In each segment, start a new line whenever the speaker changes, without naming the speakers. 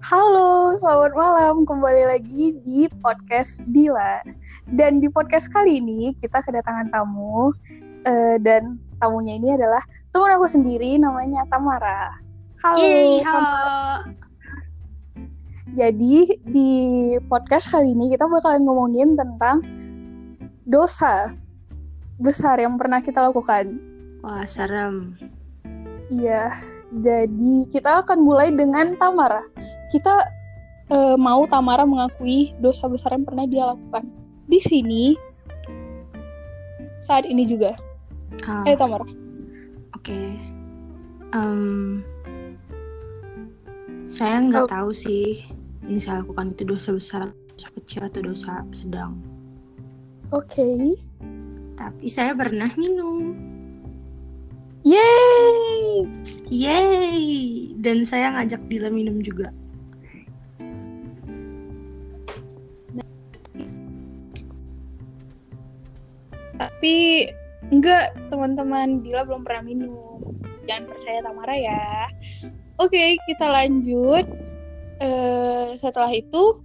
Halo, selamat malam. Kembali lagi di podcast Dila. Dan di podcast kali ini kita kedatangan tamu eh, dan tamunya ini adalah teman aku sendiri namanya Tamara. Halo.
Yeay,
Tam-
halo.
Jadi di podcast kali ini kita bakalan ngomongin tentang dosa besar yang pernah kita lakukan.
Wah, serem.
Iya, jadi kita akan mulai dengan Tamara. Kita eh, mau Tamara mengakui dosa besar yang pernah dia lakukan. Di sini, saat ini juga.
Ah,
Eh,
Oke.
Tamara.
Em, saya nggak tahu sih yang saya lakukan itu dosa besar, dosa kecil atau dosa sedang.
Oke.
Tapi saya pernah minum.
Yeay!
Yeay! Dan saya ngajak Dila minum juga.
Tapi, enggak, teman-teman. Dila belum pernah minum. Jangan percaya Tamara ya. Oke, kita lanjut. Eh, setelah itu,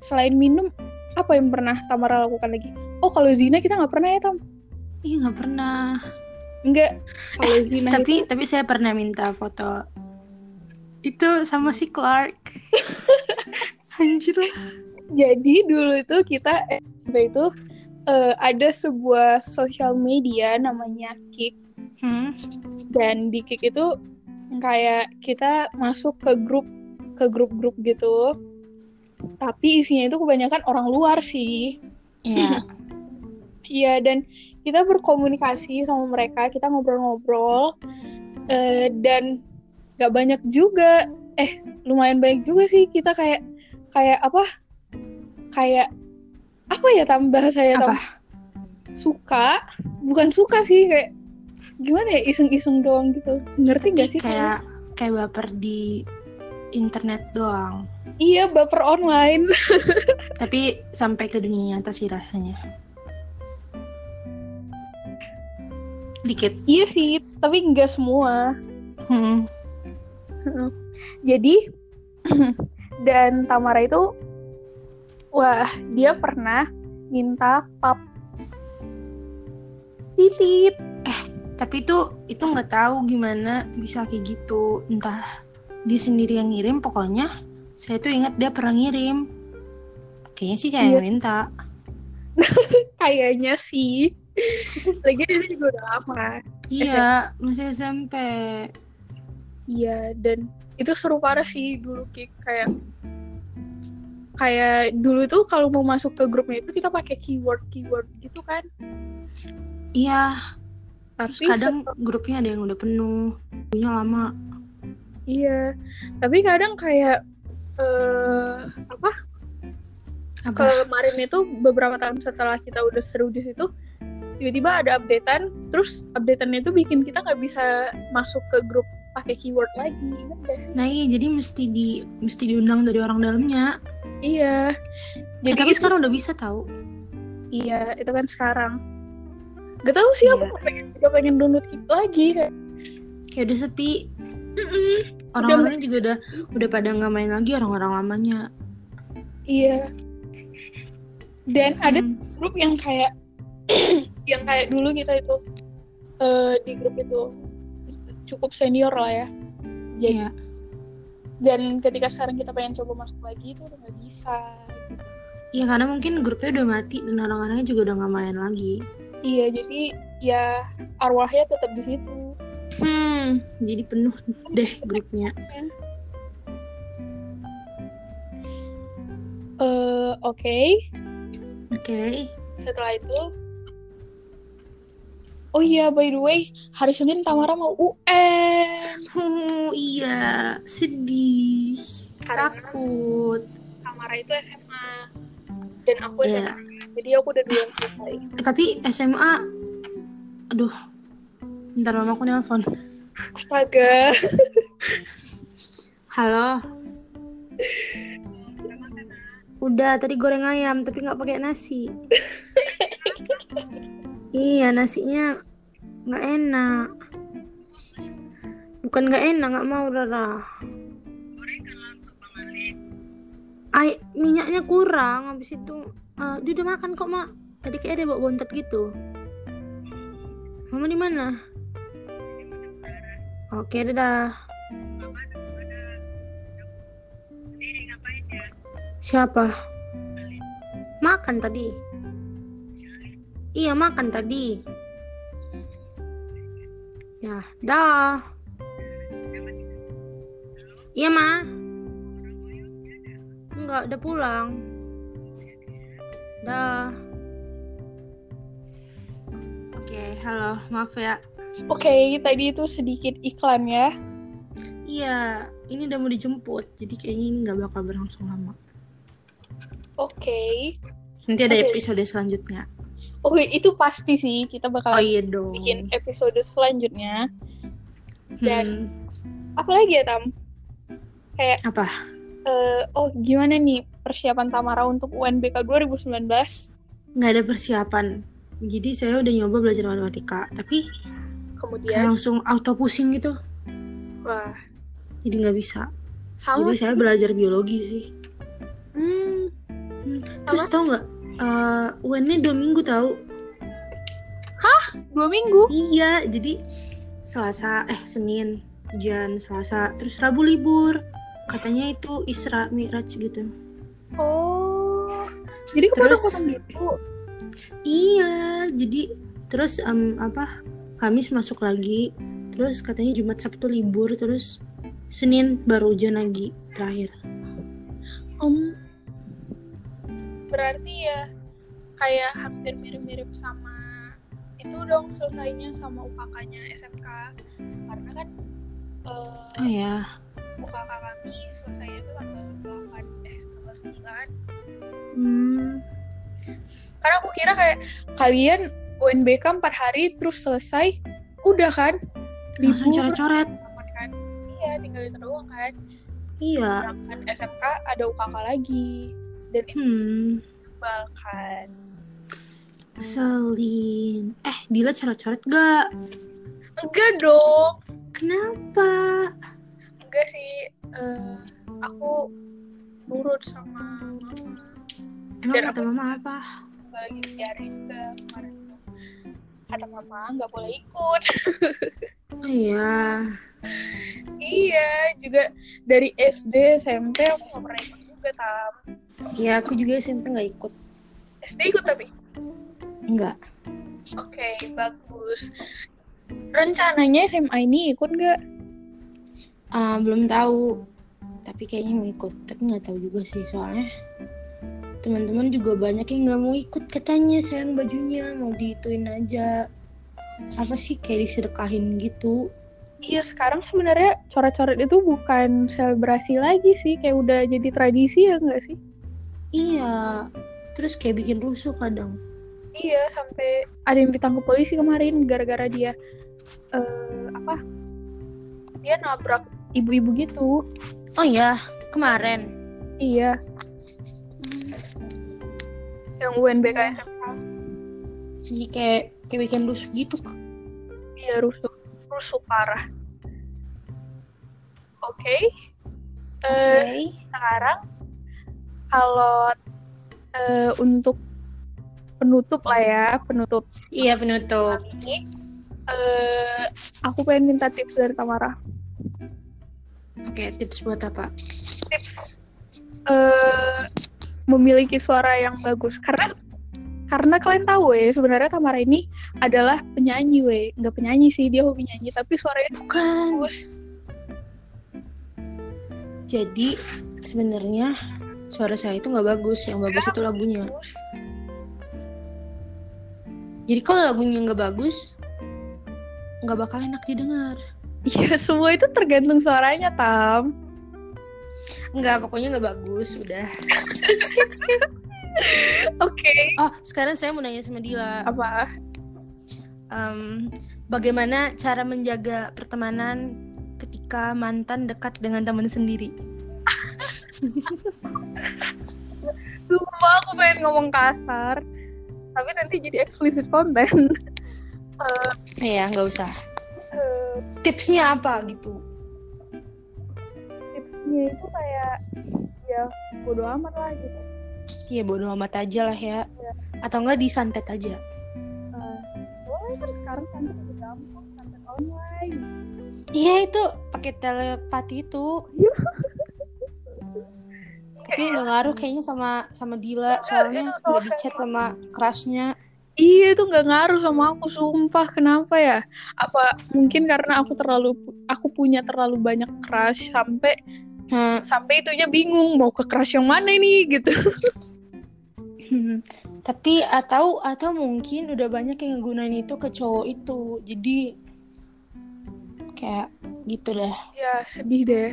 selain minum, apa yang pernah Tamara lakukan lagi? Oh, kalau zina kita nggak pernah ya, Tam?
Ih, nggak pernah.
Enggak. Kalau zina
tapi
Nah, itu-
tapi saya pernah minta foto itu sama si Clark. Anjir lah.
jadi dulu itu kita SMP itu eh, ada sebuah sosial media namanya Kik
Hmm.
dan di Kik itu kayak kita masuk ke grup ke grup-grup gitu. Tapi isinya itu kebanyakan orang luar sih.
Ya.
Iya dan kita berkomunikasi sama mereka, kita ngobrol-ngobrol eh, dan gak banyak juga, eh lumayan banyak juga sih kita kayak kayak apa? Kayak apa ya tambah saya
Apa?
tambah suka, bukan suka sih kayak gimana ya iseng-iseng doang gitu, ngerti gak sih?
kayak kayak baper di internet doang
Iya baper online.
tapi sampai ke dunia nyata sih rasanya dikit
iya sih, tapi nggak semua.
hmm.
jadi dan Tamara itu wah dia pernah minta pap titit
tapi itu itu nggak tahu gimana bisa kayak gitu entah dia sendiri yang ngirim pokoknya saya tuh ingat dia pernah ngirim kayaknya sih kayak
Iya.
yang minta
kayaknya sih lagi ini juga udah lama
iya masih SMP
iya dan itu seru parah sih dulu Kik. kayak kayak dulu tuh kalau mau masuk ke grupnya itu kita pakai keyword keyword gitu kan
iya terus
tapi
kadang grupnya ada yang udah penuh punya lama
iya tapi kadang kayak eh apa
apa
kemarin itu beberapa tahun setelah kita udah seru di situ tiba-tiba ada updatean terus updateannya itu bikin kita nggak bisa masuk ke grup pakai keyword lagi Ingat nggak sih?
Nah iya jadi mesti di mesti diundang dari orang dalamnya.
iya
Jadi
jadi
tapi
itu-
sekarang udah bisa tahu.
iya itu kan sekarang gak tau sih aku
Iya.
nggak pengen nggak pengen download itu lagi kayak
Kayak udah sepi.
"Mm-mm."
Orang-orangnya juga udah udah pada nggak main lagi orang-orang lamanya.
iya dan ada
Hmm.
grup yang kayak yang kayak dulu kita itu eh, di grup itu cukup senior lah ya jadi
Iya.
dan ketika sekarang kita pengen coba masuk lagi itu udah nggak bisa
Iya karena mungkin grupnya udah mati dan orang-orangnya juga udah nggak main lagi.
iya jadi ya arwahnya tetap di situ
Hmm. Jadi penuh deh grupnya.
Eh, oke
Oke.
setelah itu oh iya by the way hari senin Tamara mau UN
Oh iya sedih.
Karena-
Takut.
Tamara itu SMA dan aku
Iya.
SMA jadi aku udah duluan selesai
Eh, tapi SMA. Aduh. Ntar mamaku nelpon.
astaga
Halo. Udah tadi goreng ayam tapi nggak pakai nasi. iya nasinya nggak enak. Bukan nggak enak nggak mau Rara.
goreng kan lantau Bang Alif
ai- minyaknya kurang habis itu eh, dia udah makan kok mak tadi kayak ada bawa bontot gitu mama di mana oke dadah siapa makan tadi iya makan tadi ya dah iya ma Enggak, udah pulang. Dah.
Oke, halo, maaf ya.
Oke, tadi itu sedikit iklan ya.
Iya, ini udah mau dijemput, jadi kayaknya ini nggak bakal berlangsung lama.
Oke.
Nanti ada
Oke.
episode selanjutnya.
Oh, itu pasti sih kita
Oh
bakalan
iya dong.
bikin episode selanjutnya. dan-
Hmm,
Apalagi ya, Tam? Kayak
Apa?
eh, oh, gimana nih persiapan Tamara untuk UNBK 2019?
nggak ada persiapan. Jadi saya udah nyoba belajar matematika, tapi kayak
Kemudian
langsung auto pusing gitu,
wah,
jadi nggak bisa.
sama
jadi saya belajar biologi sih.
Hmm,
Terus tau nggak? eh UN-nya dua minggu tau?
dua minggu.
Iya, jadi Selasa, eh Senin, Jan, Selasa, terus Rabu libur. Katanya itu Isra Miraj gitu.
Oh. Jadi
Terus-
kepotong-potong gitu.
Iya, jadi terus em, apa? Kamis masuk lagi, terus katanya Jumat Sabtu libur, terus Senin baru hujan lagi terakhir.
Om. Berarti ya kayak hampir mirip-mirip sama itu dong selesainya sama UKK-nya SMK karena kan eh,
Oh ya,
UKK kami selesainya itu tanggal 8 eh tanggal 9
hmm,
karena aku kira kayak kalian UNBK 4 hari terus selesai udah kan
langsung
libur
coret-coret.
aman kan iya tinggal itu doang kan
Iya,
sedangkan SMK ada UKK lagi dan itu
hmm,
tebal kan
selin. Eh, Dila coret-coret gak?
enggak dong
Kenapa?
enggak sih eh, aku nurut sama mama
Emang
Dan
kata mama apa?
nggak lagi biarin juga kemarin tuh. kata mama nggak boleh ikut
Oh iya,
iya juga dari SD SMP aku nggak pernah ikut juga tam
ya aku juga SMP nggak ikut.
SD ikut tapi
Enggak.
oke bagus rencananya SMA ini ikut nggak
Ah, belum tahu. Tapi kayaknya mau ikut. Tapi nggak tahu juga sih soalnya teman-teman juga banyak yang nggak mau ikut katanya sayang bajunya mau diituin aja apa sih kayak disedekahin gitu
Iya sekarang sebenarnya coret-coret itu bukan selebrasi lagi sih kayak udah jadi tradisi ya nggak sih?
iya terus kayak bikin rusuh kadang
Iya, sampai ada yang ditangkap polisi kemarin gara-gara dia eh apa? Dia nabrak ibu-ibu gitu.
oh iya kemarin
Iya, yang UNBK SMK.
jadi kayak kayak bikin rusuh gitu
Iya, rusuh. Rusuh parah. Oke. Eh sekarang kalau eh, untuk penutup lah ya, penutup
iya penutup
ini eh aku pengen minta tips dari Tamara.
oke tips buat apa
tips eh, memiliki suara yang bagus karena karena kalian tahu ya sebenarnya Tamara ini adalah penyanyi we nggak penyanyi sih dia hobi nyanyi tapi suaranya
bukan
bagus
Jadi sebenarnya suara saya itu nggak bagus. Yang bagus itu lagunya.
bagus
Jadi kalau lagunya nggak bagus, nggak bakal enak didengar.
iya semua itu tergantung suaranya Tam
Nggak, pokoknya nggak bagus. Udah.
oke
Oh, sekarang saya mau nanya sama Dila.
apa
Em, bagaimana cara menjaga pertemanan ketika mantan dekat dengan teman sendiri?
lupa aku pengen ngomong kasar tapi nanti jadi explicit konten
Iya, nggak usah.
Eh,
Tipsnya apa gitu?
tipsnya itu kayak ya ya bodo amat lah gitu
Iya bodo amat aja lah ya. Atau enggak disantet aja.
Eh, boleh kan sekarang santet lebih gampang santet online
Iya itu pakai telepati itu. Tapi nggak ngaruh kayaknya sama sama Dila soalnya
itu
nggak
soalnya.
di chat sama crushnya.
Iya itu nggak ngaruh sama aku sumpah kenapa ya apa mungkin karena aku terlalu aku punya terlalu banyak crush sampai
Nah,
sampai itunya bingung mau ke crush yang mana nih gitu
tapi atau atau mungkin udah banyak yang ngegunain itu ke cowok itu. Jadi kayak gitu deh.
ya sedih deh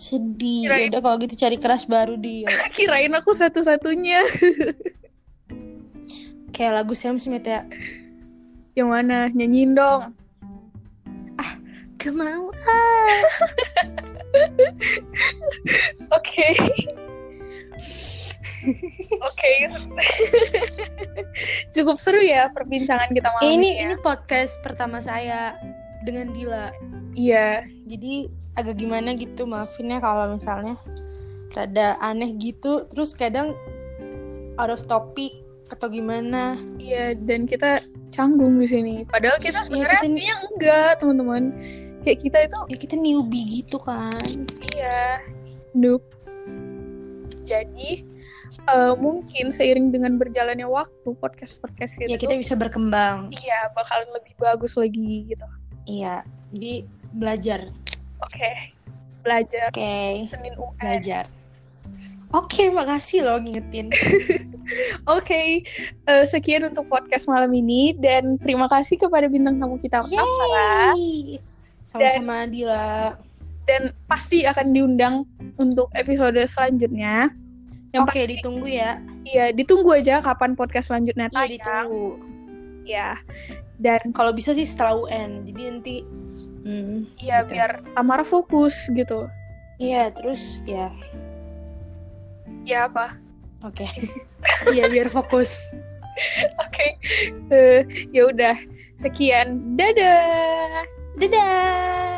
Sedih.
Kirain-
Udah kalau gitu cari crush baru dia.
kirain aku satu-satunya
Kayak lagu Sam Smith ya.
yang mana nyanyiin dong
Kemau.
Oke. Oke. Cukup seru ya perbincangan kita malam
Eh, ini
ya.
ini podcast pertama saya dengan Dila.
Iya.
jadi agak gimana gitu maafinnya kalau misalnya rada aneh gitu terus kadang out of topic atau gimana
Iya, dan kita canggung di sini. Padal Iya, kita sebenarnya
kita nih-
intinya enggak, teman-teman. Kayak kita itu
ya kita newbie gitu kan
iya. Noob. Jadi eh, mungkin seiring dengan berjalannya waktu podcast-podcast itu
ya kita bisa berkembang
iya bakalan lebih bagus lagi gitu.
iya jadi belajar
Oke. Belajar
oke
Senin UN.
belajar oke makasih loh ngingetin
Oke, eh, sekian untuk podcast malam ini dan terima kasih kepada bintang tamu kita
Yeay.
Amara
sama-sama Dila
dan pasti akan diundang untuk episode selanjutnya. Yang
oke
pasti
ditunggu ya
ya ditunggu aja kapan podcast selanjutnya
iya
tayang.
ditunggu
Ya. Dan
kalau bisa sih setelah UN jadi nanti hmm,
ya
gitu.
biar Amara fokus gitu.
iya terus ya
Ya
Iya,
apa?
Oke. Iya biar fokus.
Oke. Eh, ya udah, sekian. Dadah.
Dadah.